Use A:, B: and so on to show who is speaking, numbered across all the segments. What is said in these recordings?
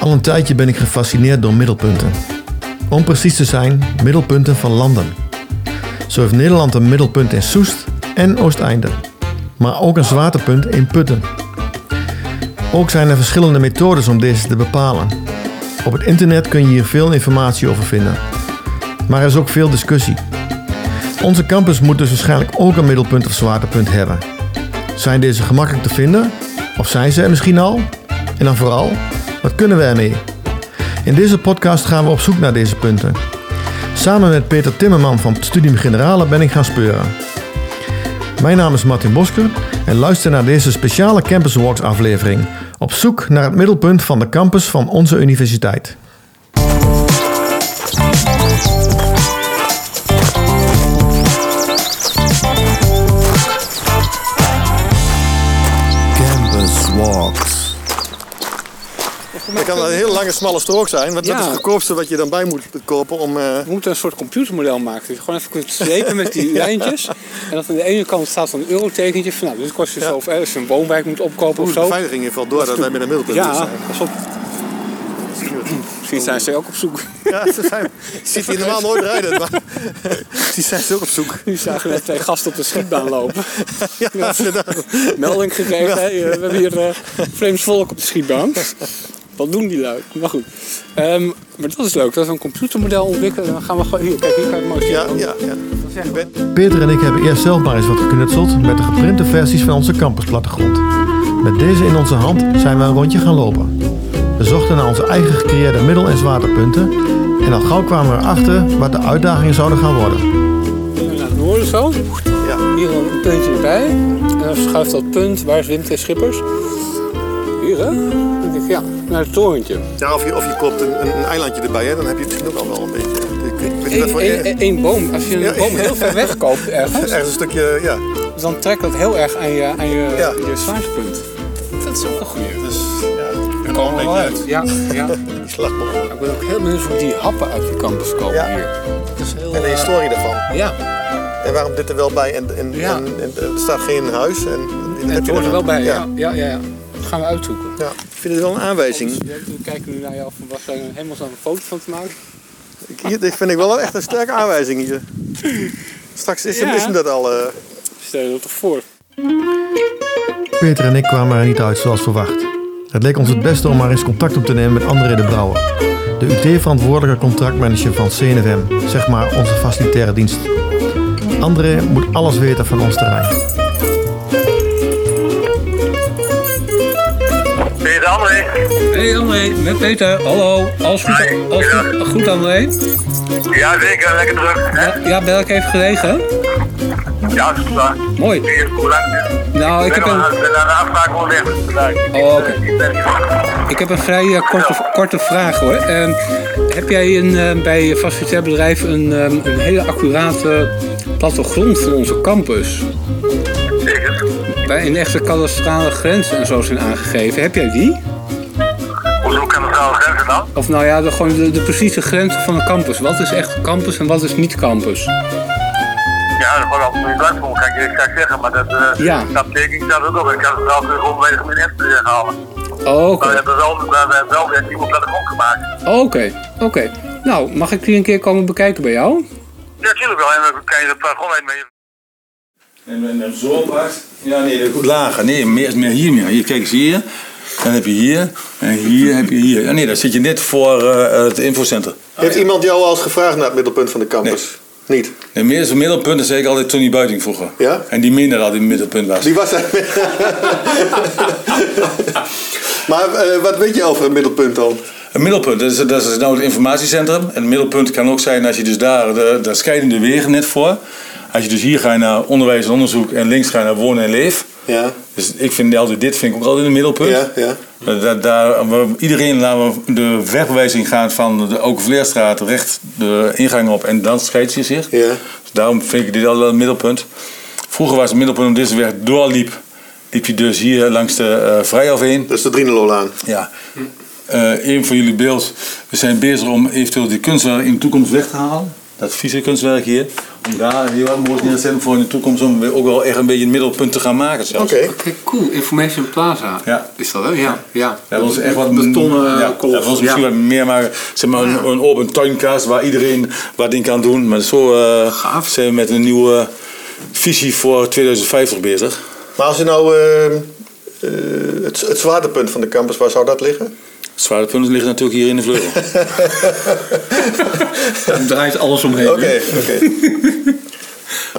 A: Al een tijdje ben ik gefascineerd door middelpunten. Om precies te zijn, middelpunten van landen. Zo heeft Nederland een middelpunt in Soest en Oosteinde, maar ook een zwaartepunt in Putten. Ook zijn er verschillende methodes om deze te bepalen. Op het internet kun je hier veel informatie over vinden, maar er is ook veel discussie. Onze campus moet dus waarschijnlijk ook een middelpunt of zwaartepunt hebben. Zijn deze gemakkelijk te vinden? Of zijn ze er misschien al? En dan vooral, wat kunnen we ermee? In deze podcast gaan we op zoek naar deze punten. Samen met Peter Timmerman van het Studium Generale ben ik gaan speuren. Mijn naam is Martin Bosker en luister naar deze speciale Campus Walks aflevering. Op zoek naar het middelpunt van de campus van onze universiteit.
B: Campus Walks.
A: Dat kan een heel lange smalle strook zijn, want
C: Ja.
A: dat is het goedkoopste wat je dan bij moet kopen om... eh,
C: We moeten een soort computermodel maken. Dat je gewoon even kunt slepen met die lijntjes. En dat aan de ene kant staat dan een eurotekentje. Van, nou, dit kost je
A: Ja.
C: zo. Of eh, als je een woonwijk moet opkopen
A: hoe
C: of
A: de
C: zo.
A: beveiliging in ieder geval door dat wij met een middelpunt
C: Ja,
A: zijn.
C: dat is op, misschien zijn ze ook op zoek.
A: Ja, ze zijn, ziet hier normaal nooit rijden, maar die zijn ze ook op zoek.
C: Nu zagen we net twee gasten op de schietbaan lopen.
A: Ja, inderdaad.
C: Melding gekregen. hé, eh, we hebben hier eh, vreemd volk op de schietbaan. Wat doen die lui? Maar goed. Ehm, maar dat is leuk. Dat we een computermodel ontwikkelen. Dan gaan we gewoon... Hier, kijk, hier kan je het mooi zien.
A: ja, ja, ja.
C: Dat is echt-
A: Peter en ik hebben eerst zelf maar eens wat geknutseld met de geprinte versies van onze campusplattegrond. Met deze in onze hand zijn we een rondje gaan lopen. We zochten naar onze eigen gecreëerde middel- en zwaartepunten en al gauw kwamen we erachter wat de uitdagingen zouden gaan worden.
C: Hier naar het noorden zo.
A: Ja.
C: Hier een puntje erbij. En dan schuift dat punt, waar is Wim T. Schippers? Hier hè? Denk ik, Ja, naar het torentje.
A: Ja, of je, of je koopt een, een, een eilandje erbij, hè, dan heb je het misschien ook al wel een beetje. Ik, ik weet niet wat
C: Eén
A: voor-
C: één-
A: eh,
C: één boom. Als je een
A: Ja.
C: boom heel ver weg koopt ergens,
A: Ergens een stukje, ja.
C: dan trekt dat heel erg aan je, aan je,
A: Ja.
C: je zwaartepunt. Dat is ook een goeie.
A: Dus ja,
C: Daar
A: er komen wel uit.
C: Ja, ja.
A: Die slagboom.
C: Ik ben ook heel benieuwd hoe die happen uit je campus komen
A: Ja.
C: hier. Het is heel,
A: En de
C: eh,
A: historie daarvan.
C: ja,
A: En waarom dit er wel bij en, en,
C: Ja.
A: en, en er staat geen huis. En, en
C: en
A: heb
C: het
A: je
C: hoort er
A: dan-
C: wel bij. Ja, ja, ja. ja. Dat gaan we uitzoeken.
A: ja. Ik vind het wel een aanwijzing.
C: We kijken nu naar jou van, was daar helemaal zo'n foto van te maken?
A: Ik- Hier, dit vind ik wel echt een sterke aanwijzing hier. Straks is, hem,
C: Ja.
A: is hem dat al. eh.
C: Stel je dat toch voor?
A: Peter en ik kwamen er niet uit zoals verwacht. Het leek ons het beste om maar eens contact op te nemen met André de Brouwer. De UT-verantwoordelijke contractmanager van CNFM, zeg maar onze facilitaire dienst. André moet alles weten van ons terrein.
D: Ben je de André?
C: Hey André, met Peter. Hallo, alles goed, alles goed, goed André?
D: Ja, zeker. Lekker terug. hè?
C: Ja, ja, ben ik even gelegen?
D: Ja, dat is klaar.
C: Mooi.
D: Hier, Hoe lang?
C: Nou, ik heb
D: ben
C: een,
D: aan- ben aan de afspraak onderweg. Oh,
C: oké. ik heb een vrij eh, korte, korte vraag hoor. Ehm, heb jij een, eh, bij je facilitair bedrijf een, ehm, een hele accurate plattegrond van onze campus?
D: Zeker.
C: Bij een echte kadastrale grenzen en zo zijn aangegeven. Heb jij die?
D: Hoezo kan het trouwens grenzen dan?
C: Of nou ja, de, gewoon de, de precieze grenzen van de campus. Wat is echt campus en wat is niet campus?
D: Ja, dat wordt altijd niet leuk voor me, kan ik je exact zeggen. Maar dat, eh,
C: Ja.
D: dat betekent dat ook. Ik kan het trouwens gewoon bij de in te zeggen halen.
C: Oké.
D: Maar we hebben wel, we hebben wel weer een nieuwe plattegrond gemaakt.
C: Oké, oké. Nou, mag ik die een keer komen bekijken bij jou?
D: Ja, natuurlijk wel. En dan kan je de plattegrond even mee.
E: En, en, en zo apart. Ja, nee, dat goed lager. Nee, meer, meer hier meer. Hier, kijk eens hier. Dan heb je hier. En hier heb je hier. Ja, nee, dan zit je net voor eh, het infocenter.
A: Heeft iemand jou al eens gevraagd naar het middelpunt van de campus? Niet.
E: De meeste middelpunten zei ik altijd Tony Buiting vroeger.
A: Ja?
E: En die meende dat hij een middelpunt was.
A: Die was er. maar eh, wat weet je over een middelpunt dan?
E: Een middelpunt, dat is, dat is nou het informatiecentrum. En een middelpunt kan ook zijn als je dus daar, de, daar scheiden de wegen net voor. Als je dus hier gaat naar onderwijs en onderzoek en links gaat naar wonen en leef.
A: Ja.
E: Dus ik vind altijd, dit vind ik ook altijd een middelpunt.
A: Ja, ja.
E: Dat, dat- daar, waar iedereen laten we de wegwijzing gaan van de Okenvleerstraat recht de ingang op en dan scheidt je zich.
A: Ja.
E: Dus daarom vind ik dit altijd wel een middelpunt. Vroeger was het middelpunt omdat deze weg doorliep. Liep je dus hier langs de eh Vrijhof heen.
A: Dat is de Drinelolaan.
E: Ja. Eh, een van jullie beeld. We zijn bezig om eventueel die kunstwerk in de toekomst weg te halen. Dat vieze kunstwerk hier. Ja, heel mooi neerzetten voor in de toekomst om weer ook wel echt een beetje een middelpunt te gaan maken zelfs.
B: Oké.
C: Oké, cool. Information Plaza.
E: Ja.
C: Is dat, hè? Ja. ja.
E: Ja, dat was echt wat
C: betonnen
E: ja,
C: kolos.
E: Dat was
C: Ja.
E: misschien wat meer maar, zeg maar een, een open tuinkast waar iedereen wat in kan doen. Maar zo eh,
C: Gaaf.
E: zijn we met een nieuwe visie voor 2050 bezig.
B: Maar als je nou
A: ehm,
B: eh, eh, het, het zwaartepunt van de campus, waar zou dat liggen?
E: Het zwaartepunt ligt natuurlijk hier in de vleugel.
C: Daar draait alles omheen. hè?
B: Oké, oké.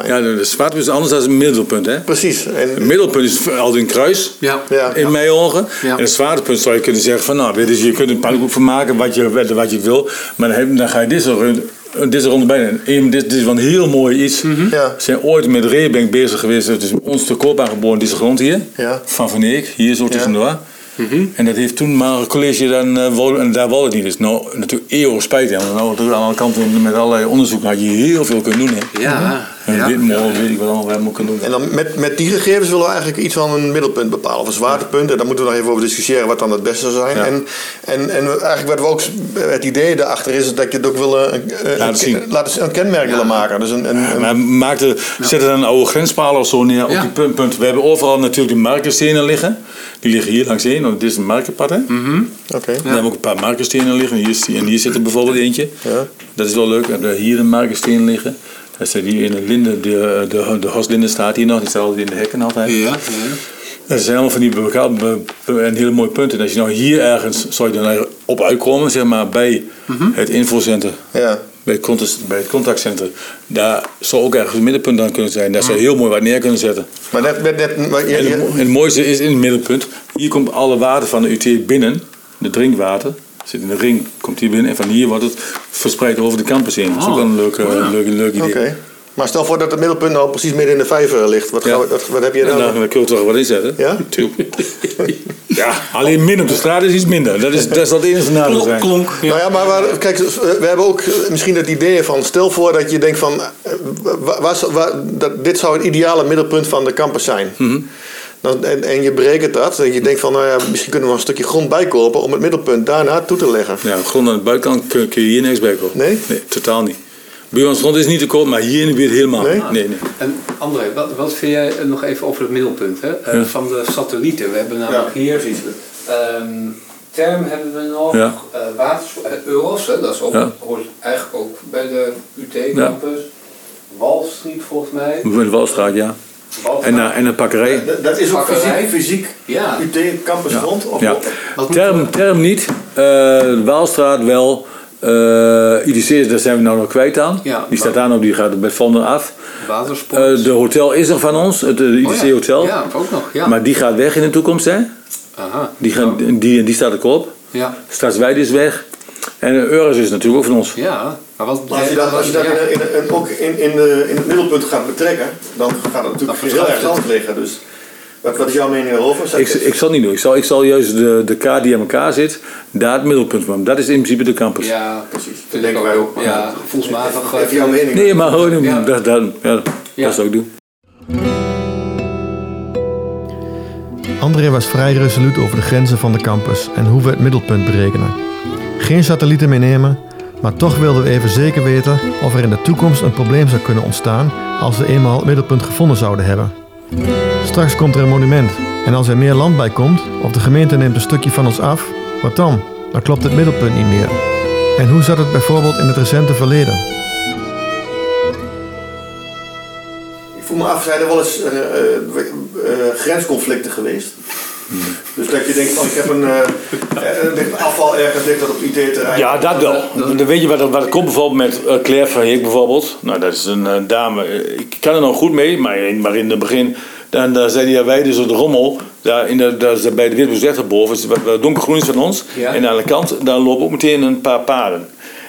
E: ja, de de zwaartepunt is anders dan het middelpunt. Hè?
B: Precies.
E: Het
B: En,
E: middelpunt is altijd een kruis.
C: Ja.
B: Ja.
E: In mijn ogen.
C: Ja.
E: En het zwaartepunt zou je kunnen zeggen van, nou, weet je, je kunt een pannenkoek van maken wat je, wat je wil, maar dan, heb- dan ga je dit zo rond- dit is rond bijna. Eén, Dit, dit is wel een heel mooi iets.
C: Mhm.
B: Ja.
E: Ze zijn ooit met Reebank bezig geweest. Het is ons te koop aangeboden, deze grond hier.
B: Ja.
E: Van Van Eek, hier zo tussendoor.
C: Mhm.
E: En dat heeft toen maar een college dan, eh, wou- en daar wou het niet. Dus nou, natuurlijk eeuwig spijt. hè. Want nou, natuurlijk aan de andere kant met allerlei onderzoek had je heel veel kunnen doen. Hè.
C: Ja.
E: En
C: ja.
E: dit mooi, weet ik wat allemaal we hebben kunnen doen.
B: en dan met, met die gegevens willen we eigenlijk iets van een middelpunt bepalen, of een zwaartepunt. En daar moeten we nog even over discussiëren wat dan het beste zou zijn.
E: Ja.
B: En, en, en eigenlijk wat we ook, s- het idee daarachter is dat je het ook wil eh, een, eh,
E: Laten
B: een,
E: zien.
B: ken- laten zien- een kenmerk willen maken. Dus een, een, een-
E: Eh, Maar maakte, zet er dan oude grenspalen of zo neer op
C: Ja.
E: die punt, punt. We hebben overal natuurlijk die markerstenen liggen. Die liggen hier langs heen, want dit is een markerpad. Hè?
B: Oké.
E: We hebben ook een paar markerstenen liggen. Hier, is die- en hier zit er bijvoorbeeld eentje.
B: Ja.
E: Dat is wel leuk. We hebben hier een markersteen liggen. Daar staat hier in de linde, de, de, de hoslinde staat hier nog. Die staat altijd in de hekken altijd.
C: Ja, ja.
E: Dat zijn allemaal van die beka- be- be- en hele mooie punten. En als je nou hier ergens, zou je dan op uitkomen, zeg maar, bij het infocentrum.
B: Ja.
E: Bij het, cont- bij het contactcentrum. Daar zou ook ergens een middenpunt aan kunnen zijn. Daar zou je heel mooi wat neer kunnen zetten.
B: Maar net, net, net maar je-
E: En het, mo-
B: je-
E: en het mooiste is in het middenpunt. Hier komt alle water van de UT binnen. De drinkwater zit in de ring, komt hier binnen. En van hier wordt het verspreid over de campus heen. Dat is ook wel een leuk, eh, leuk, leuk idee.
B: Ah. Oké. Maar stel voor dat het middelpunt nou precies midden in de vijver ligt. Wat,
E: Ja.
B: gaan we- wat, wat heb je
E: En
B: dan?
E: daar kunnen we toch wat in zetten.
B: Ja?
E: Tuurlijk. ja, alleen min op de straat is iets minder. Dat is, dat zal het enige nadeel zijn.
C: Klonk.
B: Nou ja, maar waar- kijk, we hebben ook eh, misschien het idee van... stel voor dat je denkt van... eh, wa- waar zou- waar- dat, dit zou het ideale middelpunt van de campus zijn. Dan, en, en je berekent dat. En je denkt van, nou ja, misschien kunnen we een stukje grond bijkopen... om het middelpunt daarna toe te leggen.
E: Ja, grond aan de buitenkant kun, kun je hier niks bij kopen.
B: Nee?
E: totaal niet. Buurmansgrond is niet te koop, maar hier in de buurt helemaal
B: Nee?
E: niet. Nee, nee.
C: En André, wat, wat vind jij eh, nog even over het middelpunt hè? Eh, van de satellieten? We hebben namelijk hier ehm, term hebben we nog,
E: Ja.
C: eh waters, eh, Euros, hè, dat is ook,
E: Ja.
C: hoort eigenlijk ook bij de UT-campus. Walstreet volgens mij.
E: In de Walstraat, ja.
C: Walstraat.
E: En, eh, en een pakkerij.
F: Dat, dat is ook
C: Bakkerij.
F: fysiek, fysiek
C: Ja.
F: UT Campus Grond? Of
E: Ja.
C: Wat
E: Term, term niet. Eh, Waalstraat wel. Eh IDC, daar zijn we nou nog kwijt aan.
C: Ja.
E: die staat daar nog, die gaat bij Van der af.
C: Watersport.
E: Eh, de hotel is er van ons, het eh, IDC
C: Oh ja.
E: Hotel.
C: Ja, ook nog. Ja.
E: Maar die gaat weg in de toekomst, hè?
C: Aha.
E: Die, gaan, die, die staat ook op.
C: Ja.
E: Staatswijd is weg. En eh, Eurus is natuurlijk ook van ons.
C: Ja, maar wat...
F: Als je dat, als je dat
C: ja.
F: in, in, in- ook in, in, de, in het middelpunt gaat betrekken, dan gaat het natuurlijk heel
C: Dan verschuift
F: erg
C: het.
F: anders liggen. Dus wat, wat is jouw mening daarover? Zeg
E: Ik,
F: eens.
E: ik zal niet doen. Ik zal, ik zal juist de, de kaart die aan elkaar zit, daar het middelpunt van. Dat is in principe de campus.
C: Ja,
F: Precies, dat
C: vind
F: denken
C: ik
F: wij ook.
C: Ja, gevoelsmatig. eh,
F: Even jouw mening.
E: Nee, maar gewoon,
C: Ja.
E: dat, dat, ja,
C: Ja.
E: dat zou ik doen.
A: André was vrij resoluut over de grenzen van de campus en hoe we het middelpunt berekenen. Geen satellieten meenemen, maar toch wilden we even zeker weten of er in de toekomst een probleem zou kunnen ontstaan als we eenmaal het middelpunt gevonden zouden hebben. Straks komt er een monument en als er meer land bij komt of de gemeente neemt een stukje van ons af, wat dan? Dan klopt het middelpunt niet meer. En hoe zat het bijvoorbeeld in het recente verleden?
F: Ik voel me af, zijn er wel eens eh, eh, eh, grensconflicten geweest? Dus dat je denkt van ik heb een eh, eh, ligt afval ergens ligt dat op IT-terrein.
E: Ja, dat wel. Dan weet je wat, er- wat er komt bijvoorbeeld met eh, Claire van Heek bijvoorbeeld. Nou, dat is een eh, dame. eh, Ik kan er nog goed mee, maar in, maar in het begin... Dan, dan zijn die, ja, wij dus op de rommel, daar, in de, daar is bij de Witbos boven, is wat, wat donkergroen is van ons.
C: Ja.
E: En aan de kant, daar lopen ook meteen een paar paarden.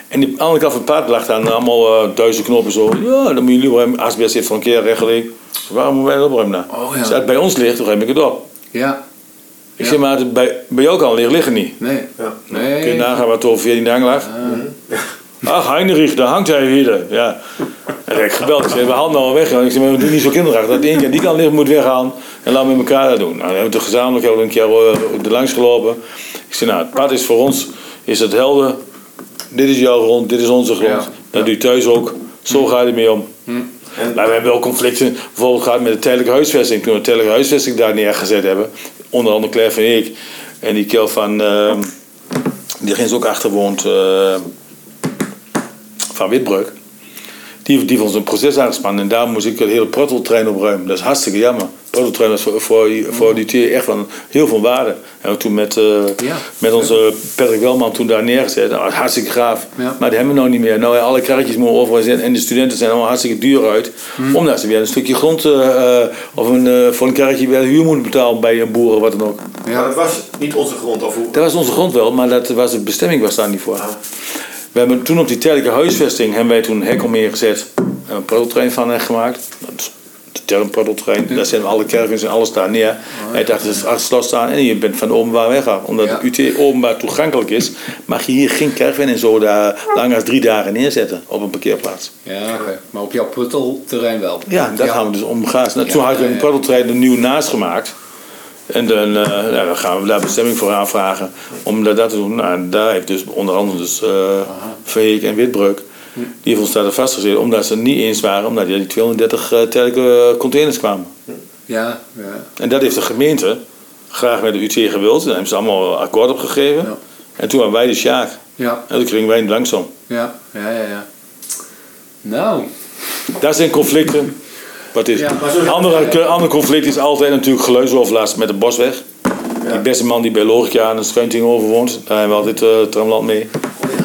E: En die andere kant van het paard lag dan allemaal eh duizend knoppen zo. Ja, dan moet je liever hebben. Asbest zit van een keer rechtelijk. Waarom moeten wij dat opruimen nou?
C: Oh, ja.
E: Als het bij ons ligt, dan ruim ik het op.
C: Ja,
E: Ik
C: Ja.
E: zeg maar, als het bij, bij jou kan liggen, liggen niet.
C: nee.
E: Kun je
C: Nee.
E: nagaan wat er over 14 dagen lag? Ah, Ach, Heinrich, daar hangt hij weer. Ja. En ik heb gebeld, ik zei, we handen al weg. Ik zei, maar we doen niet zo kinderachtig. Dat eentje die kan liggen moet weghalen en laten we met elkaar dat doen. Nou, dan hebben we het gezamenlijk hebben we een keer eh, er langs gelopen. Ik zei, nou, het pad is voor ons, is het helder. Dit is jouw grond, dit is onze grond.
C: Ja.
E: Dat doe je thuis ook. Zo ga je ermee om. Maar we hebben wel conflicten bijvoorbeeld gehad met de tijdelijke huisvesting. Toen we de tijdelijke huisvesting daar neergezet hebben, onder andere Claire van ik. En die kerel van, ehm, die er eens ook achter woont, eh, van Witbreuk. Die, die heeft ons een proces aangespannen en daar moest ik het hele protteltrein opruimen. Dat is hartstikke jammer. Protteltrein was voor, voor, voor die tier echt van heel veel waarde. En ook toen met, eh,
C: Ja.
E: met onze Patrick Welman toen daar neergezet. Nou, hartstikke gaaf.
C: Ja.
E: Maar die hebben we nou niet meer. Nou, ja, alle karretjes moeten overal zijn en de studenten zijn allemaal hartstikke duur uit.
C: Hmm.
E: Omdat ze weer een stukje grond eh, eh, of een, eh, voor een karretje weer huur moeten betalen bij een boer of wat dan ook.
C: Ja.
G: Maar het was niet onze grond, of hoe?
E: Dat was onze grond wel, maar dat was de bestemming was daar niet voor. We hebben toen op die tijdelijke huisvesting hebben wij toen een hek omheen gezet. en Een paddeltrein van eh, gemaakt. Dat is de term paddeltrein. Daar zijn alle caravans en alles daar neer. Hij dacht, het is achter slot staan en je bent van openbaar weg af. Omdat
C: Ja.
E: de UT openbaar toegankelijk is, mag je hier geen caravan en zo daar langer dan drie dagen neerzetten op een parkeerplaats.
C: Ja, oké. Maar op jouw puttelterrein wel.
E: Ja, dat gaan we dus omgaan. Nou,
C: Ja, Eh,
E: toen hadden we
C: ja,
E: een
C: ja.
E: paddeltrein er nieuw naast gemaakt. En dan eh, nou, dan gaan we daar bestemming voor aanvragen om dat, dat te doen. Nou, daar heeft dus onder andere dus, eh, Veek en Witbreuk,
C: Hm.
E: die heeft ons daar vastgezet omdat ze het niet eens waren, omdat die 230 eh, tijdelijke eh, containers kwamen.
C: Ja, ja.
E: En dat heeft de gemeente graag met de UT gewild. Daar hebben ze allemaal akkoord op gegeven.
C: Ja.
E: En toen waren wij de Sjaak.
C: Ja,
E: En toen kregen wij een langzaam.
C: ja, ja, ja. ja. Nou,
E: Daar zijn conflicten. Wat is
C: Ja, maar
E: Een
C: zo-
E: andere, ander conflict is altijd natuurlijk geluidsoverlast met de bosweg. Die beste man die bij Logica aan de Schuinting over woont, daar hebben we altijd eh, tramland mee.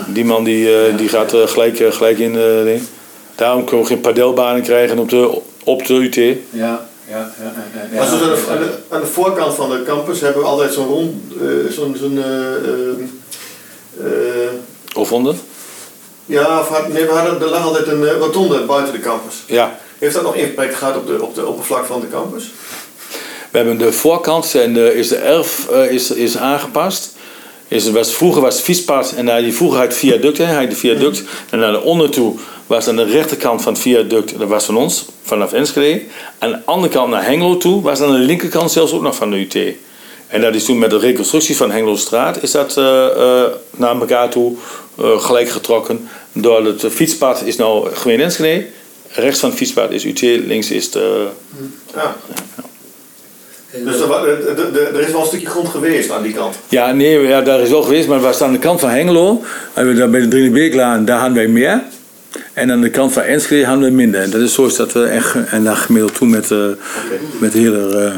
E: Die man die, eh, die gaat eh, gelijk, eh, gelijk in eh, ding. Daarom kunnen we geen padelbanen krijgen op de, op de UT.
C: ja, ja, ja. ja, ja,
G: Maar zoals aan, de, aan, de, aan de voorkant van de campus hebben we altijd zo'n rond, eh, zo'n, zo'n, eh, eh, eh,
E: Of onder?
G: ja, of had- nee, we hadden, er lag altijd een eh, rotonde buiten de campus.
E: Ja.
G: Heeft dat nog impact gehad op de, op de oppervlak van de campus?
E: We hebben de voorkant en de, is de erf eh, is, is aangepast. Is, was, vroeger was het fietspad en daar, die- vroeger had je het viaduct, hè, had je de viaduct. En naar de onder toe was aan de rechterkant van het viaduct, dat was van ons, vanaf Enschede. Aan de andere kant naar Hengelo toe, was aan de linkerkant zelfs ook nog van de UT. En dat is toen met de reconstructie van Hengelostraat is dat eh, eh, naar elkaar toe eh, gelijk getrokken. Door het fietspad is nou gemeente Enschede. Rechts van het fietspad is UT, links is de...
G: Ja. Dus er, wa- er- er- er- er is wel een stukje grond geweest aan die kant.
E: Ja, nee, ja, daar is wel geweest, maar we staan aan de kant van Hengelo. En we, daar bij de Drinebeeklaan, daar hadden wij meer. En aan de kant van Enschede hadden we minder. En dat is zo is dat we echt, en daar gemiddeld toe met, eh, met de hele... eh,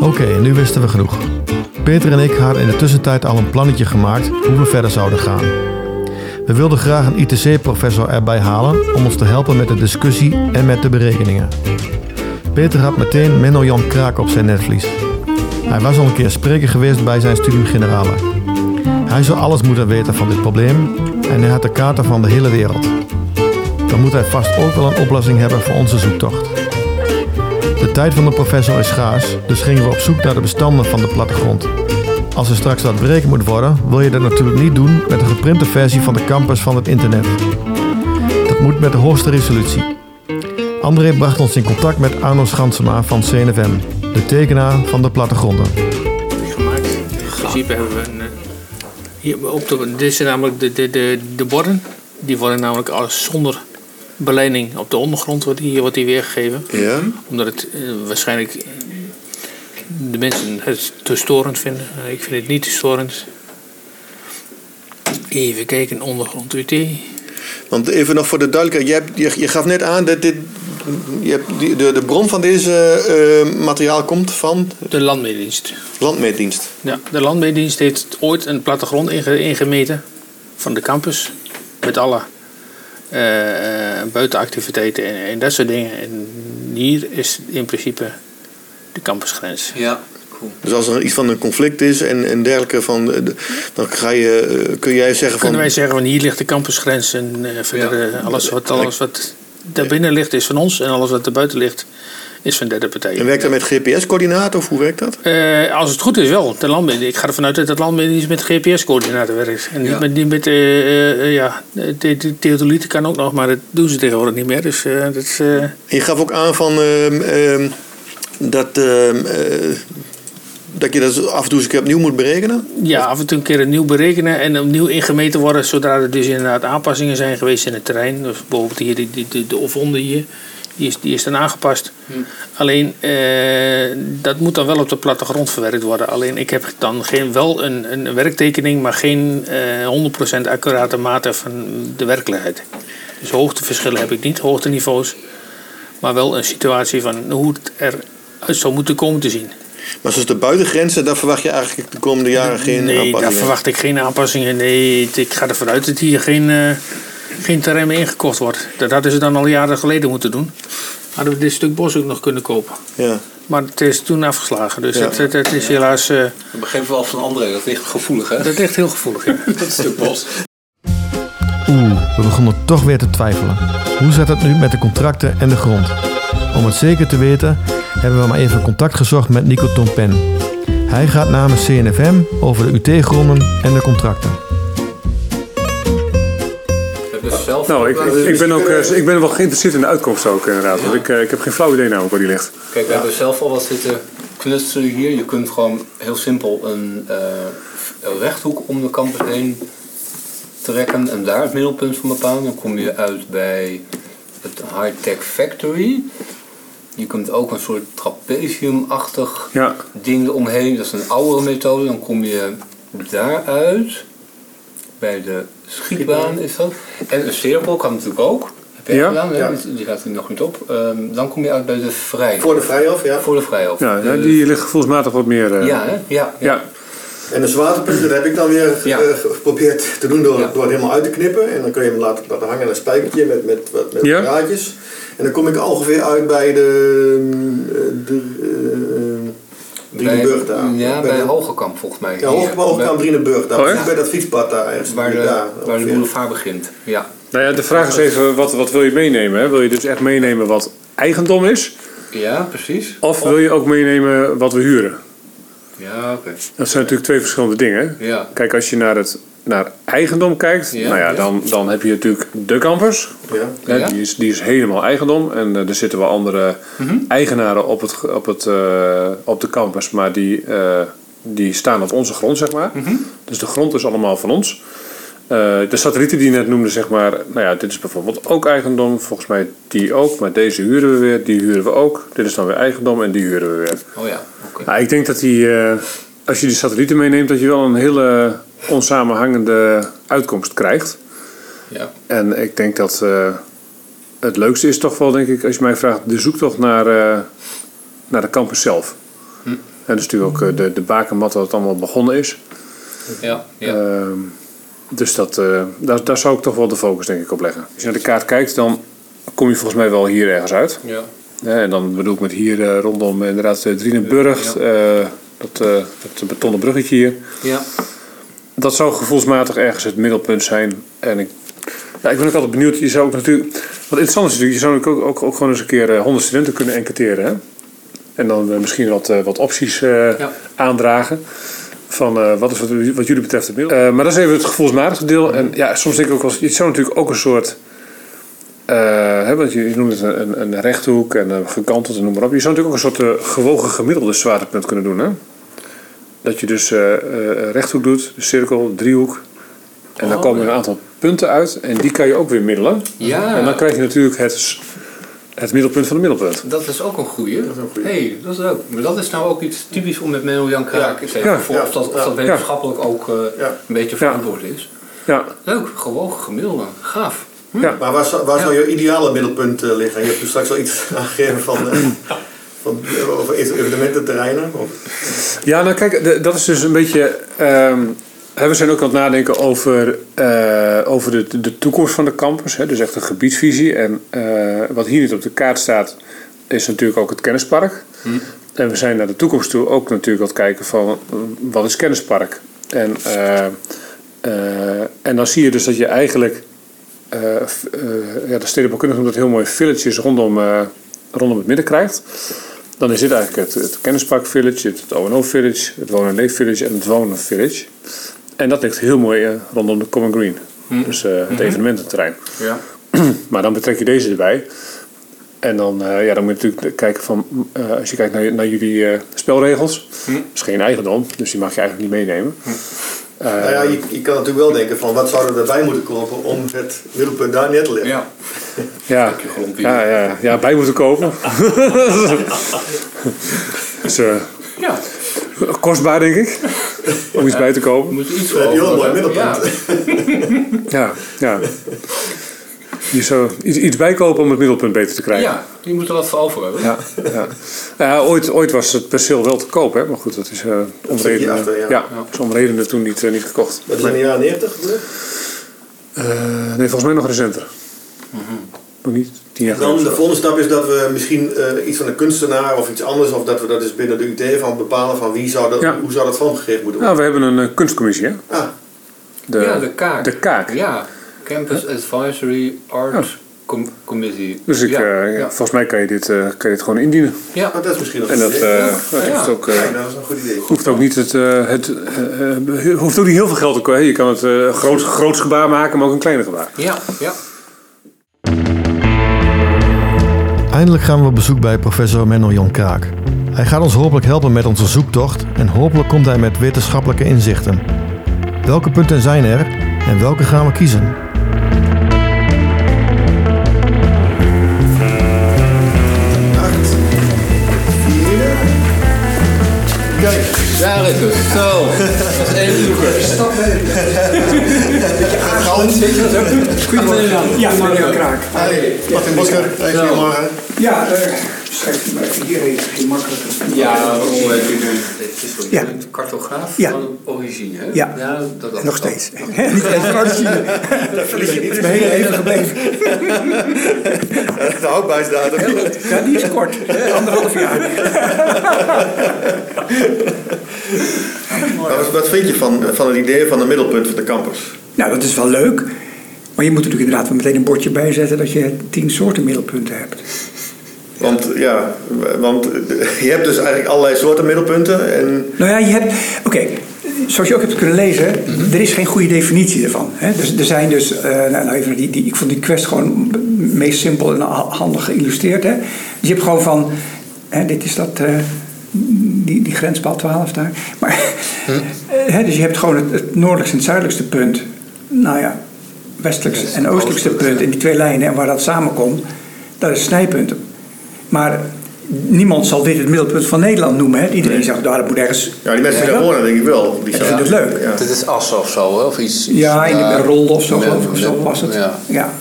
A: Oké, nu wisten we genoeg. Peter en ik hadden in de tussentijd al een plannetje gemaakt hoe we verder zouden gaan. We wilden graag een ITC-professor erbij halen om ons te helpen met de discussie en met de berekeningen. Peter had meteen Menno Jan Kraak op zijn netvlies. Hij was al een keer spreker geweest bij zijn studium generale. Hij zou alles moeten weten van dit probleem en hij had de kaarten van de hele wereld. Dan moet hij vast ook wel een oplossing hebben voor onze zoektocht. De tijd van de professor is schaars, dus gingen we op zoek naar de bestanden van de plattegrond. Als er straks wat berekend moet worden, wil je dat natuurlijk niet doen met een geprinte versie van de campus van het internet. Dat moet met de hoogste resolutie. André bracht ons in contact met Arno Schansema van CNFM, de tekenaar van de plattegronden.
H: gemaakt. In principe hebben we een. eh, Hier op de, dit zijn namelijk de, de, de, de borden. Die worden namelijk als zonder beleiding op de ondergrond wordt die, wordt die weergegeven.
B: Ja?
H: Omdat het eh, waarschijnlijk eh, de mensen het te storend vinden. Eh, ik vind het niet te storend. Even kijken, ondergrond UT.
B: Want even nog voor de duidelijkheid. Je, hebt- je, je gaf net aan dat dit... Je hebt die, de, de bron van deze eh, materiaal komt van
H: De landmeerdienst.
B: landmeetdienst.
H: Ja, de landbouwdienst heeft ooit een plattegrond inge- ingemeten van de campus. Met alle eh, eh, buitenactiviteiten en, en dat soort dingen. En hier is in principe de campusgrens.
C: ja. Cool.
B: Dus als er iets van een conflict is en, en dergelijke, van, eh, de- dan ga je, eh, kun jij zeggen van...
H: Kunnen wij zeggen, van hier ligt de campusgrens en eh, verder eh, alles, wat, alles wat daarbinnen ligt is van ons en alles wat daarbuiten ligt is van derde partijen.
B: En werkt dat met GPS-coördinaten of hoe werkt dat?
H: Eh, als het goed is wel, de landmeer. Ik ga ervan uit dat het landmeer met GPS-coördinaten werkt. En
C: Ja.
H: niet met, niet met eh, eh, eh, ja, de, de- de theodolieten kan ook nog, maar dat doen ze tegenwoordig niet meer. Dus eh, dat is, eh,
B: En je gaf ook aan van ehm, ehm, dat ehm, eh, dat je dat af en toe eens een keer opnieuw moet berekenen?
H: Ja, af en toe een keer opnieuw berekenen en opnieuw ingemeten worden zodra er dus inderdaad aanpassingen zijn geweest in het terrein. Dus bijvoorbeeld hier, die, die, de, de of onder hier, die is, die is dan aangepast. Alleen eh, dat moet dan wel op de plattegrond verwerkt worden. Alleen ik heb dan geen, wel een, een werktekening, maar geen eh 100% accurate mate van de werkelijkheid. Dus hoogteverschillen heb ik niet, hoogteniveaus, maar wel een situatie van hoe het eruit zou moeten komen te zien.
B: Maar zoals de buitengrenzen, daar verwacht je eigenlijk de komende jaren geen
H: nee, daar
B: aanpassingen.
H: verwacht ik geen aanpassingen. Nee, t- ik ga ervan uit dat hier geen, eh, geen terrein meer ingekocht wordt. Dat hadden ze dan al jaren geleden moeten doen. Hadden we dit stuk bos ook nog kunnen kopen.
B: Ja.
H: Maar het is toen afgeslagen. Dus
B: Ja.
H: dat, dat, dat is helaas... eh,
C: Dat begrepen we al van André, dat ligt gevoelig hè?
H: dat ligt heel gevoelig. ja.
C: Dat stuk bos.
A: Oeh, we begonnen toch weer te twijfelen. Hoe zit het nu met de contracten en de grond? Om het zeker te weten, hebben we maar even contact gezocht met Nico Tompen. Hij gaat namens CNFM over de UT-gronden en de contracten.
I: Nou, ik,
C: dus
I: ik, ben ook, eh, ik ben wel geïnteresseerd in de uitkomst ook inderdaad. Want ik, eh, ik heb geen flauw idee namelijk waar die ligt.
C: Kijk, we hebben zelf al wat zitten knutselen hier. Je kunt gewoon heel simpel een eh, een rechthoek om de campus heen trekken en daar het middelpunt van bepalen. Dan kom je uit bij het High-Tech Factory. Je kunt ook een soort trapeziumachtig
I: Ja.
C: ding eromheen. Dat is een oudere methode. Dan kom je daaruit. Bij de schietbaan is dat. En een cirkel kan natuurlijk ook. Heb jij
I: Ja.
C: gedaan? hè?
B: Ja.
C: Die- Die gaat er nog niet op. Ehm, dan kom je uit bij de vrij.
B: Voor de vrijhof, ja.
C: Voor de vrijhof.
I: Ja, ja,
E: eh,
C: Dus-
I: Eh, die ligt gevoelsmatig wat meer... eh,
C: Ja, hè? Ja.
I: ja.
B: En de zwaartepunten dat heb ik dan weer
C: Ja.
B: eh, geprobeerd te doen door,
C: Ja.
B: door het helemaal uit te knippen. En dan kun je hem laten, laten hangen aan een spijkertje met, met, wat- met
I: Ja.
B: draadjes. En dan kom ik ongeveer uit bij de... eh, de eh, Driedenburg daar.
C: Ja, bij,
B: de-
C: Hogekamp volgens mij.
B: Ja, hoog aan Driedenburg daar.
I: Oh, echt?
B: bij dat fietspad daar. ergens.
C: Waar de,
B: daar,
C: eh, waar de
B: ongeveer.
C: boulevard begint. Ja.
I: Nou ja, de vraag is even, wat, wat wil je meenemen? Hè? Wil je dus echt meenemen wat eigendom is?
C: Ja, precies.
I: Of wil je ook meenemen wat we huren?
C: Ja, oké.
I: Dat zijn natuurlijk twee verschillende dingen.
C: Ja.
I: Kijk, als je naar, het, naar eigendom kijkt,
C: Ja,
I: nou ja,
C: ja.
I: Dan, dan heb je natuurlijk de campus.
B: Ja.
I: Hè,
C: Ja.
I: Die, is, die is helemaal eigendom. En eh, er zitten wel andere eigenaren op, het, ge- op, het, eh, op de campus, maar die, eh, die staan op onze grond, zeg maar. Dus de grond is allemaal van ons. Eh, de satellieten die je net noemde, zeg maar, nou ja, dit is bijvoorbeeld ook eigendom. Volgens mij die ook, maar deze huren we weer, die huren we ook. Dit is dan weer eigendom en die huren we weer.
C: Oh ja, oké.
I: Nou, ik denk dat die, eh, als je die satellieten meeneemt, dat je wel een hele onsamenhangende uitkomst krijgt.
C: Ja.
I: En ik denk dat eh, het leukste is toch wel, denk ik, als je mij vraagt, de zoektocht naar, eh, naar de campus zelf.
C: Hm.
I: En dat is natuurlijk ook eh, de, de bakenmat dat het allemaal begonnen is.
C: Ja, ja.
I: Ehm, dus dat, eh, daar, daar zou ik toch wel de focus denk ik op leggen. Als je naar de kaart kijkt, dan kom je volgens mij wel hier ergens uit.
C: ja.
I: Ja, en dan bedoel ik met hier eh, rondom inderdaad eh, Drienenburg,
C: Ja.
I: eh, dat, eh, dat betonnen bruggetje hier.
C: Ja.
I: Dat zou gevoelsmatig ergens het middelpunt zijn. En ik, ja, ik ben ook altijd benieuwd, je zou ook natuurlijk, wat interessant is natuurlijk, je zou natuurlijk ook, ook, ook gewoon eens een keer eh, 100 studenten kunnen enquêteren. Hè? En dan eh, misschien wat, eh, wat opties eh,
C: Ja.
I: aandragen. Van eh, wat is wat, wat jullie betreft het middel. Eh, maar dat is even het gevoelsmatige deel. En ja, soms denk ik ook wel eens, het zou natuurlijk ook een soort. eh, hè, want je, je noemt het een, een, een rechthoek en eh, gekanteld en noem maar op. Je zou natuurlijk ook een soort eh, gewogen gemiddelde zwaartepunt kunnen doen. Hè? Dat je dus eh, eh, rechthoek doet, cirkel, driehoek. En
C: Oh,
I: dan komen er een aantal punten uit. En die kan je ook weer middelen.
C: Ja.
I: En dan krijg je natuurlijk het, s- het middelpunt van het middelpunt.
C: Dat is ook een goeie. Dat is een goeie. hey, dat is leuk. Maar dat is nou ook iets typisch om met Menno Jan Kraak te zeggen.
I: Ja.
C: Voor Of dat, of dat wetenschappelijk ook eh,
B: Ja.
C: een beetje verantwoord is.
I: Ja,
C: Leuk, gewoon gemiddelde. Gaaf.
B: Maar waar, zou- waar zou je ideale middelpunt eh, liggen? Je hebt dus straks al iets aangegeven van... eh, van eh, over evenemententerreinen. Of,
I: ja nou kijk, de- dat is dus een beetje... ehm, hè, we zijn ook aan het nadenken over, eh, over de, de toekomst van de campus. Hè, dus echt een gebiedsvisie. En eh, wat hier niet op de kaart staat, is natuurlijk ook het kennispark. En we zijn naar de toekomst toe ook natuurlijk aan het kijken van... eh, wat is kennispark? En, eh, eh, en dan zie je dus dat je eigenlijk... eh, f- eh, ja, de stedenbouwkundigen noemen dat heel mooi villages rondom, eh, rondom het midden krijgt. Dan is dit eigenlijk het, het Kennispark Village, het, het O&O Village, het Woon- en Leef Village en het Wonen Village. En dat ligt heel mooi eh, rondom de Common Green. Dus eh, het evenemententerrein.
C: Ja.
I: maar dan betrek je deze erbij. Eh, En dan, eh, ja, dan moet je natuurlijk kijken van, eh, als je kijkt naar, naar jullie eh, spelregels, dat is geen eigendom, dus die mag je eigenlijk niet meenemen. Eh,
B: Nou ja, je, je kan natuurlijk wel denken van wat zouden we erbij moeten kopen om het middelpunt daar neer te leggen.
J: Ja.
I: ja, ja, ja, ja, bij moeten kopen. dus, eh,
J: Ja.
I: kostbaar denk ik, om iets bij te kopen.
J: Moet iets
B: Dan heb je wel een mooi middelpunt.
J: Ja.
I: Ja, ja. Je zou iets, iets bijkopen om het middelpunt beter te krijgen.
J: ja, je moet er wat voor over hebben.
I: Ja, ja. Nou ja, ooit, ooit was het perceel wel te koop, hè? maar goed, dat is eh om
B: stukje
I: redenen-
B: achter, ja.
I: is om redenen toen niet, eh, niet gekocht.
B: Dat is in de jaren 90 gebeurd.
I: Eh, nee, volgens mij nog recenter. Nog niet tien jaar
B: Mhm. Dan
I: geleden.
B: de volgende stap is dat we misschien eh, iets van een kunstenaar of iets anders, of dat we dat dus binnen de UT van bepalen van wie zou dat,
I: Ja.
B: hoe zou dat vormgegeven moeten worden.
I: Nou, we hebben een eh, kunstcommissie, hè?
B: Ah,
I: De,
J: Ja, de kaak.
I: De kaak. Oh.
J: Ja, Campus Advisory Art Com- Committee.
I: Dus ik,
J: ja.
I: eh, ja,
J: ja.
I: volgens mij kan je, dit, eh, kan je dit gewoon indienen.
J: Ja.
B: nou, dat is misschien nog
I: En dat,
B: een idee.
I: eh, dat heeft ook... eh,
B: Ja, dat is een goed idee.
I: hoeft ook niet het, eh, het eh, eh, hoeft ook niet heel veel geld te kosten. Je kan het eh groot, groots gebaar maken, maar ook een kleiner gebaar.
J: Ja, ja.
A: Eindelijk gaan we op bezoek bij professor Menno Jan Kraak. Hij gaat ons hopelijk helpen met onze zoektocht en hopelijk komt hij met wetenschappelijke inzichten. Welke punten zijn er en welke gaan we kiezen?
B: Acht, vier. Kijk,
J: Daar is het. Zo. Dat is één zoeker. Stap mee.
E: Ja, Mario Kraak.
B: hey, Martin Bosker, hey, goedemorgen.
E: Ja, eh, schrijf hem even hierheen, geen makkelijker.
J: Ja, waarom heb je
E: Ja,
J: een cartograaf
E: Ja.
J: van origine, hè?
E: Ja.
J: dat, dat,
E: nog
J: dat-
E: steeds. Niet even uitzien. Dat is mijn hele leven gebleven.
B: De houdbaarheidsdatum.
E: Ja, die is kort. hè, Anderhalf jaar.
B: Maar Wat, wat vind je van, van het idee van een middelpunt van de campus?
E: Nou, dat is wel leuk. Maar je moet natuurlijk inderdaad wel meteen een bordje bijzetten dat je tien soorten middelpunten hebt.
B: Want ja, want je hebt dus eigenlijk allerlei soorten middelpunten. En
E: Nou ja, je hebt. Oké, zoals je ook hebt kunnen lezen, er is geen goede definitie ervan. Hè? Dus er zijn dus. eh, nou, nou, even, die, die, ik vond die quest gewoon het meest simpel en ha- handig geïllustreerd. Hè? Dus je hebt gewoon van. Hè, dit is dat. eh, die, die grenspaal 12 daar. Maar, eh, hè, dus je hebt gewoon het, het noordelijkste en het zuidelijkste punt. Nou ja, westelijkste en oostelijkste punt. En die twee lijnen en waar dat samenkomt, dat is snijpunten. Maar niemand zal dit het middelpunt van Nederland noemen. Hè? Iedereen zegt, nou, dat moet ergens
B: ja, die mensen die daar
E: ja.
B: wonen, denk ik wel. Die
E: Ik vind het leuk.
B: Ja.
J: Dit is as of zo, hè? Of iets. iets-
E: Ja, in de Rolde of zo
J: met-
E: geloof ik. Of zo
J: met-
E: was het.
J: Ja.
E: Ja. ja.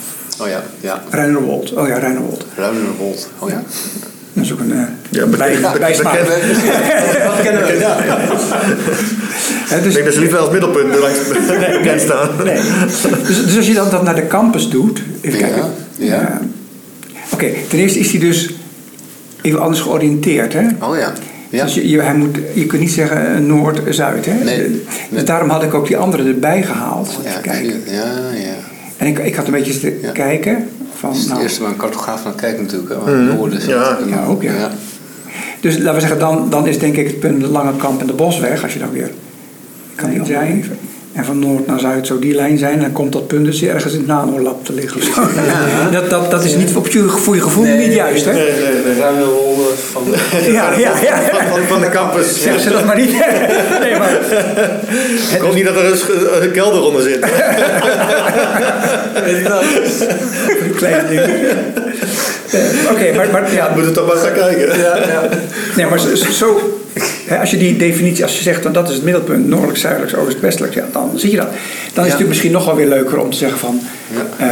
J: Oh ja, ja.
E: Reinerwold. Oh ja, Reinerwold.
J: Ruinerwold. Oh ja.
E: Dat is ook een eh
B: Ja,
E: ja,
B: bekend-
E: bij,
B: bekend-
E: bijsmaak.
B: bekend-
E: Dat kennen we.
B: Ja, ja.
E: Hè,
B: Ik
E: dus,
B: denk dat ze liever als middelpunt langs bekend staan.
E: nee. dus, dus als je dan dat naar de campus doet. Even
J: Ja,
E: kijken.
J: ja.
E: Oké, ten eerste is hij dus even anders georiënteerd. Hè?
J: Oh ja. Ja.
E: Dus je, je, hij moet, je kunt niet zeggen eh, Noord-Zuid. hè?
J: Nee,
E: Dus
J: nee.
E: daarom had ik ook die andere erbij gehaald.
J: Ja, ik
E: even
J: zie
E: kijken.
J: het. ja, ja.
E: En ik, ik had een beetje zitten
J: Ja.
E: kijken. Van,
J: Het
E: nou,
J: eerste waar een cartograaf naar kijkt natuurlijk, hè? Waar het noorden zit.
B: Mhm. Ja.
J: En-
E: Ja, ook, ja.
J: ja.
E: Dus laten we zeggen, dan, dan is denk ik het punt de Lange Kamp en de Bosweg, als je dan weer kan niet zijn. En van noord naar zuid zou die lijn zijn, dan komt dat punt dus ergens in het nanolab te liggen. of zo. Dat, dat, dat is niet op je, voor je gevoel niet juist, hè?
J: Ruinerwold van de...
E: Ja, ja, ja.
B: Van, van de campus.
E: Zeg ze dat maar niet. Nee, maar
B: Ik hoop niet dat er een, sch- een kelder onder zit.
E: die kleine dingen. Eh, Oké, maar, maar ja,
B: Moet het toch maar gaan kijken.
E: Nee, maar zo, zo- hè, als je die definitie, als je zegt dan dat is het middelpunt, noordelijk, zuidelijk, oost, westelijk, ja, dan zie je dat. Dan is het natuurlijk misschien nog wel weer leuker om te zeggen van, ehm,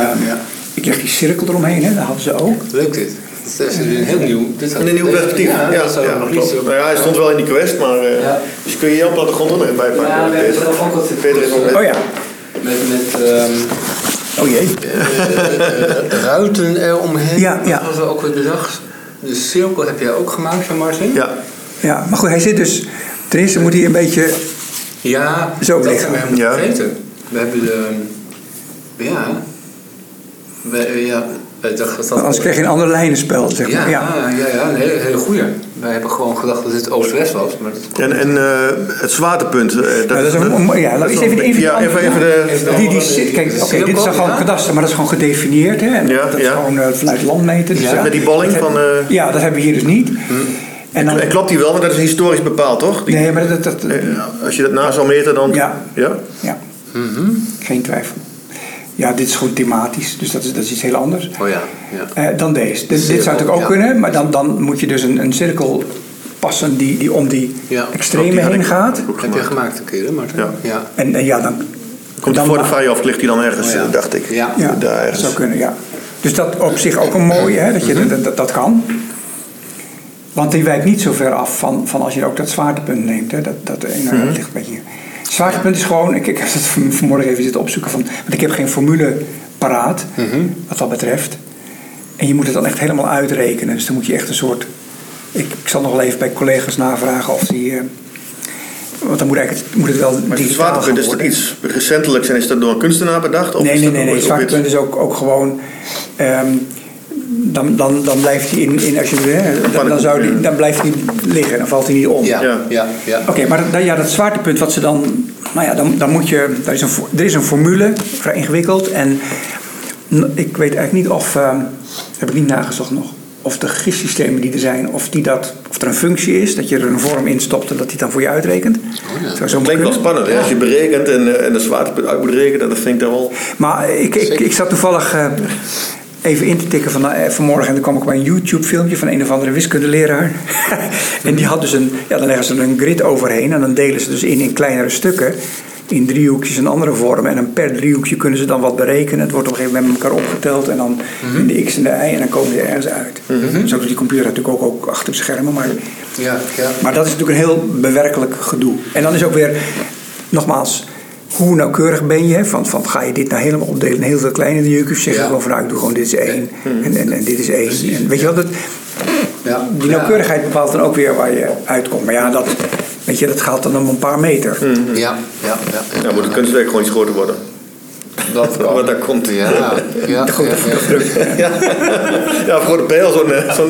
E: ik leg die cirkel eromheen, hè, dat hadden ze ook.
J: Leuk dit. Dit is een heel nieuw... Dit
B: In een nieuw perspectief.
J: Ja, dat zou nog niet
B: klopt.
J: zo...
B: Nou ja, hij stond wel in die quest, maar eh,
J: Ja.
B: dus kun je jouw plattegrond ook nog even bijpakken.
J: Ja, we hebben
B: Peter.
J: zelf ook wat-
B: Peter is nog met.
E: Oh ja,
J: Met, met ehm,
E: oh jee.
F: Eh,
J: ruiten eromheen.
E: Ja, ja.
J: Dat hadden we ook weer bedacht. De cirkel heb jij ook gemaakt, van Martin?
B: Ja.
E: Ja, maar goed, hij zit dus, ten eerste moet hij een beetje,
J: Ja,
E: Zo
J: dat
E: liggen.
J: hebben we helemaal
B: Ja.
J: vergeten. We hebben de... Ja... We, ja
F: eh,
H: Dat, Anders kreeg Dus je een ander lijnenspel, zeg maar.
F: Ja, ah, ja, ja, een hele, hele goeie. Wij hebben gewoon gedacht dat dit oost-west was. Maar dat...
B: En, en eh, het zwaartepunt. eh, dat,
H: Ja, dat is een- om- ja, laat eens even, even,
B: ja, even, even de...
H: die, die zit, kijk, oké, dit is dan gewoon kadaster, maar dat is gewoon gedefinieerd. Hè? En
B: Ja,
H: dat is
B: ja.
H: gewoon eh, vanuit landmeten. Dus
B: Ja, met die balling
H: dat
B: van,
H: hebben-
B: eh,
H: ja, dat hebben we hier dus niet. En dan,
B: En klopt die wel, want dat is historisch bepaald, toch? Die-
H: nee, maar dat, dat,
B: eh, Als je dat na zou meten, dan...
H: Ja.
B: Ja?
H: ja, geen twijfel. Ja, dit is gewoon thematisch, dus dat is, dat is iets heel anders.
F: Oh ja, ja.
H: Eh, dan deze. Dit, dit
F: Cirkel,
H: zou natuurlijk ook
F: ja.
H: kunnen, maar dan, dan moet je dus een, een cirkel passen die, die om die
F: Ja.
H: extreme
B: Die had
H: heen
B: ik
H: gaat.
F: Heb je gemaakt een keer, hè, Martin?
B: Ja.
F: ja.
H: En, eh, ja, dan
B: Komt hij
H: dan
B: voor de
H: ma-
B: vrije of ligt hij dan ergens,
F: Oh ja.
B: eh, dacht ik.
F: Ja.
H: Ja,
B: Daar
H: dat
B: ergens.
H: zou kunnen, ja. Dus dat op zich ook een mooie, hè, dat, je,
B: Mhm.
H: dat, dat, dat kan. Want die wijkt niet zo ver af van, van als je ook dat zwaartepunt neemt. Hè, dat dat eh,
B: Mhm.
H: nou, ja, ligt een beetje. Zwaartepunt is gewoon, ik, ik heb dat van- vanmorgen even zitten opzoeken, van, want ik heb geen formule paraat
B: Mhm.
H: wat dat betreft. En je moet het dan echt helemaal uitrekenen. Dus dan moet je echt een soort. Ik, ik zal nog wel even bij collega's navragen of die. eh, want dan moet, eigenlijk, het- moet het wel.
B: Maar Dus het
H: digitaal
B: zwaartepunt,
H: gaan
B: is dat
H: worden.
B: iets recentelijks en is dat door een kunstenaar bedacht? Of
H: Nee,
B: is
H: nee,
B: dat
H: nee,
B: ook-
H: nee.
B: ook
H: Het zwaartepunt
B: iets-
H: is ook, ook gewoon. ehm, dan, dan, dan blijft hij in, in als je, hè, dan, dan, zou die, dan blijft hij liggen, dan valt hij niet om.
F: Ja, ja, ja.
H: Oké, maar dat- ja, dat zwaartepunt wat ze dan. Nou ja, dan, dan moet je. Er is, een, fo- er is een formule, vrij ingewikkeld. En n- ik weet eigenlijk niet of. ehm, heb ik niet nagezocht nog. Of de gissystemen die er zijn, of, die dat, of er een functie is, dat je er een vorm in stopt en dat die het dan voor je uitrekent. Het zou zo
B: Het Oh klinkt wel
H: kunnen.
B: spannend, hè? Als je berekent en, eh, en de zwaartepunt uit moet rekenen, dat vind ik dan wel...
H: Maar ik, ik, ik zat toevallig eh, even in te tikken van, eh, vanmorgen en dan kwam ik bij een YouTube-filmpje van een of andere wiskundeleraar. en die had dus een, ja, dan leggen ze er een grid overheen en dan delen ze dus in in kleinere stukken. In driehoekjes en andere vormen. En dan per driehoekje kunnen ze dan wat berekenen. Het wordt op een gegeven moment met elkaar opgeteld. En dan in de x en de y. En dan komen ze ergens uit. Zo doet die computer natuurlijk ook, ook achter de schermen. Maar
F: ja, ja.
H: maar dat is natuurlijk een heel bewerkelijk gedoe. En dan is ook weer, nogmaals, hoe nauwkeurig ben je? Van, van ga je dit nou helemaal opdelen in heel veel kleine driehoekjes? Of Zeg je
F: Ja.
H: gewoon van nou, ik doe gewoon dit is één.
B: Hmm.
H: En, en, en dit is één. En weet je wat? Dat,
F: Ja,
H: die nauwkeurigheid bepaalt dan ook weer waar je uitkomt. Maar ja, dat, weet je, dat gaat dan om een paar meter.
F: Ja, ja, ja. ja.
B: Dan moet het kunstwerk gewoon iets groter worden.
F: Dat kan.
B: Want daar komt-
F: Ja, ja, ja.
B: Ja, ja voor de pijl, zo'n eh, zo'n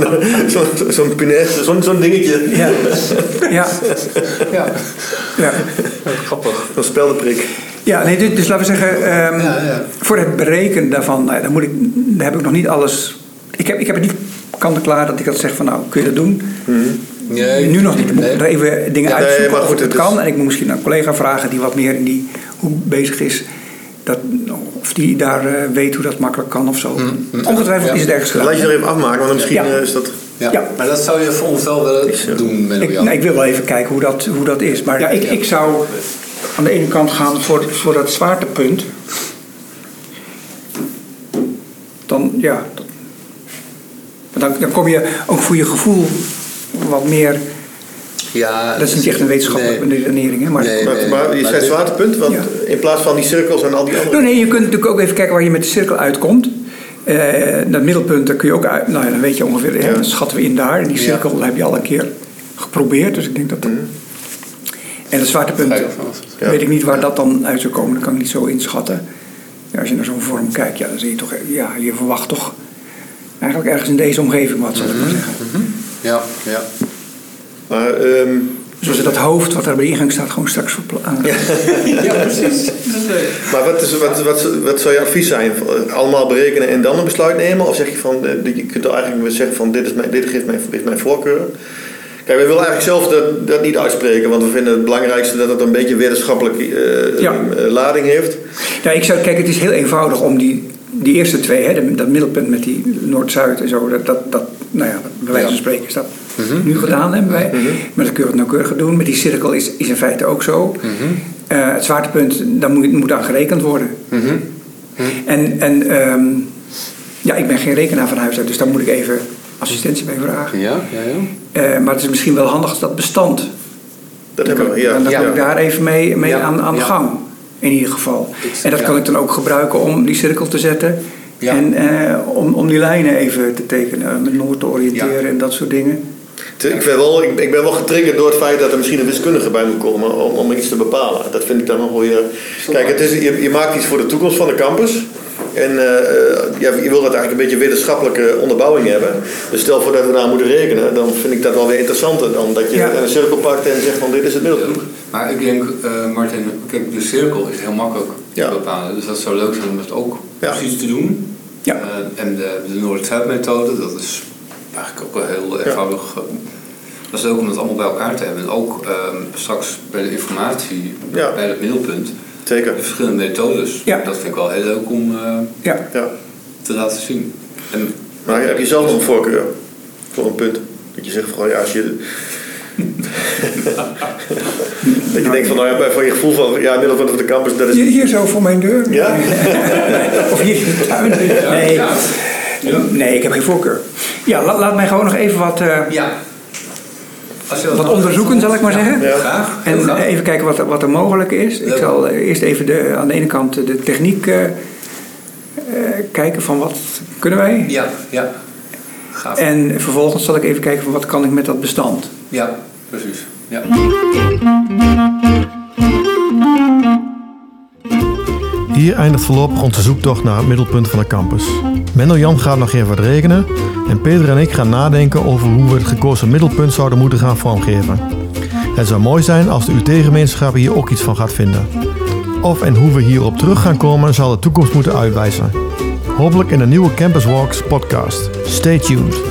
B: zo'n zo'n punaise, zo'n zo'n dingetje.
H: Ja. ja.
F: Ja.
H: ja.
F: Grappig.
B: Zo'n speldenprik.
H: Ja, nee, dus, dus laten we zeggen,
F: Ja,
H: ehm,
F: ja.
H: voor het berekenen daarvan, nou ja, dan moet ik, daar heb ik nog niet alles. Ik heb, ik heb het niet kant-en-klaar dat ik dat zeg van nou, kun je dat doen?
F: Nee,
H: Nu nog niet. Ik moet
F: Nee.
H: er even dingen
B: Ja, nee,
H: uitzoeken
B: maar goed,
H: of het
B: het is-
H: kan. En ik moet misschien een collega vragen die wat meer in die hoek bezig is. Dat, of die daar eh, weet hoe dat makkelijk kan of zo.
B: Mm,
H: Ongetwijfeld
F: Ja.
H: is het ergens gedaan.
B: Laat je er even afmaken, want dan misschien
H: Ja.
B: eh, is dat...
F: Ja.
H: Ja.
F: Maar dat zou je voor ons wel willen doen, Menno
H: Ik,
F: Jan.
H: nee, ik wil wel even kijken hoe dat, hoe dat is. Maar ja, ik, ik zou aan de ene kant gaan voor, voor dat zwaartepunt. Dan, ja, dat- dan, dan kom je ook voor je gevoel wat meer...
F: ja, dus-
H: Dat is niet echt een wetenschappelijke
F: Nee.
H: redenering, hè? Maar
F: Nee.
B: Maar, maar je
F: maar
B: zei
F: dit-
B: zwaartepunt, want
H: Ja.
B: in plaats van die cirkels en al die andere...
H: Nou, nee, je kunt natuurlijk ook even kijken waar je met de cirkel uitkomt. Eh dat middelpunt, daar kun je ook uit. Nou ja, dan weet je ongeveer, hè,
B: Ja.
H: dan schatten we in daar. En die cirkel heb je al een keer geprobeerd, dus ik denk dat dat. En het zwaartepunt,
F: Vrij of-
B: Hmm. Ja.
H: weet ik niet waar dat dan uit zou komen, dat kan ik niet zo inschatten. Ja, als je naar zo'n vorm kijkt, ja, dan zie je toch, ja, je verwacht toch eigenlijk ergens in deze omgeving wat, zal ik maar zeggen.
F: Ja, ja.
B: Maar, ehm,
H: Zoals Dus dat hoofd wat daar bij de ingang staat, gewoon straks verplaatst.
B: maar wat, is, wat, wat, wat zou je advies zijn? Allemaal berekenen en dan een besluit nemen? Of zeg je van, eh, je kunt eigenlijk weer zeggen van, dit, is mijn, dit geeft mijn, is mijn voorkeur? Kijk, we willen eigenlijk zelf dat, dat niet uitspreken, want we vinden het belangrijkste dat het een beetje wetenschappelijke eh,
H: Ja.
B: eh, lading heeft.
H: Nou, ik zou, kijk, het is heel eenvoudig om die, die eerste twee, hè, de- dat middelpunt met die Noord-Zuid en zo, dat, dat, dat nou ja, bij wijze van spreken is dat
F: Mhm.
H: nu gedaan hebben wij. Maar dat kun je wat nauwkeuriger doen. Met die cirkel is, is in feite ook zo.
F: Mhm.
H: Eh, het zwaartepunt, daar moet, moet aan gerekend worden. En, en ehm, ja, ik ben geen rekenaar van huis uit, dus daar moet ik even assistentie bij vragen.
F: Ja, ja, ja.
H: Eh, maar het is misschien wel handig dat bestand
B: Dat hebben we, ja.
H: dan kan
B: ja.
H: ik daar even mee, mee
F: Ja.
H: aan, aan de
F: Ja.
H: gang. In ieder geval.
F: Ik-
H: En dat
F: ja.
H: kan ik dan ook gebruiken om die cirkel te zetten.
F: Ja.
H: eh, En eh, om, om die lijnen even te tekenen. Met Noord te oriënteren en dat soort dingen.
B: Ik ben, wel, ik, ik ben wel getriggerd door het feit dat er misschien een wiskundige bij moet komen om, om iets te bepalen. Dat vind ik dan nog wel weer. Kijk, het is, je, je maakt iets voor de toekomst van de campus. En eh, eh, ja, je wil dat eigenlijk een beetje wetenschappelijke onderbouwing hebben. Dus stel voor dat we daar moeten rekenen, dan vind ik dat wel weer interessanter dan dat je
H: Ja.
B: een cirkel pakt en zegt van dit is het middelpunt.
J: Maar ik denk, eh, Martin, kijk, de cirkel is heel makkelijk
B: Ja.
J: te bepalen. Dus dat zou leuk zijn om het ook
B: Ja.
J: precies te doen.
H: Ja.
J: Eh, en de, de Noord-Zuid-methode, dat is eigenlijk ook wel heel eenvoudig. eh, Dat is leuk om het allemaal bij elkaar te hebben. En ook eh, straks bij de informatie,
B: Ja.
J: bij het middelpunt.
B: Zeker.
J: De verschillende methodes.
H: Ja.
J: Dat vind ik wel heel leuk om eh,
H: Ja.
B: Ja.
J: te laten zien. En
B: Maar heb je zelf nog een voorkeur voor een punt? Dat je zegt van, ja, als je... dat je denkt van, nou ja, bij- van je gevoel van, ja, middelpunt van de campus, dat
H: Hier,
B: is...
H: hier zo voor mijn deur.
B: Ja?
H: Of hier in de tuin. Nee. nee, ik heb geen voorkeur. Ja, la- laat mij gewoon nog even wat, eh,
J: ja. Als je
H: wat
J: nog-
H: onderzoeken, zal ik maar zeggen.
B: Ja.
J: Graag. heel
H: En
J: graag.
H: even kijken wat, er- wat er mogelijk is. Ik
J: Leuk.
H: zal eerst even de, aan de ene kant de techniek eh, eh, kijken van wat kunnen wij.
J: Ja, ja. Gaaf.
H: En vervolgens zal ik even kijken van wat kan ik met dat bestand.
J: Ja, precies. Ja.
A: Hier eindigt voorlopig onze zoektocht naar het middelpunt van de campus. Menno Jan gaat nog even wat rekenen en Peter en ik gaan nadenken over hoe we het gekozen middelpunt zouden moeten gaan vormgeven. Het zou mooi zijn als de UT-gemeenschap hier ook iets van gaat vinden. Of en hoe we hierop terug gaan komen zal de toekomst moeten uitwijzen. Hopelijk in de nieuwe Campus Walks podcast. Stay tuned.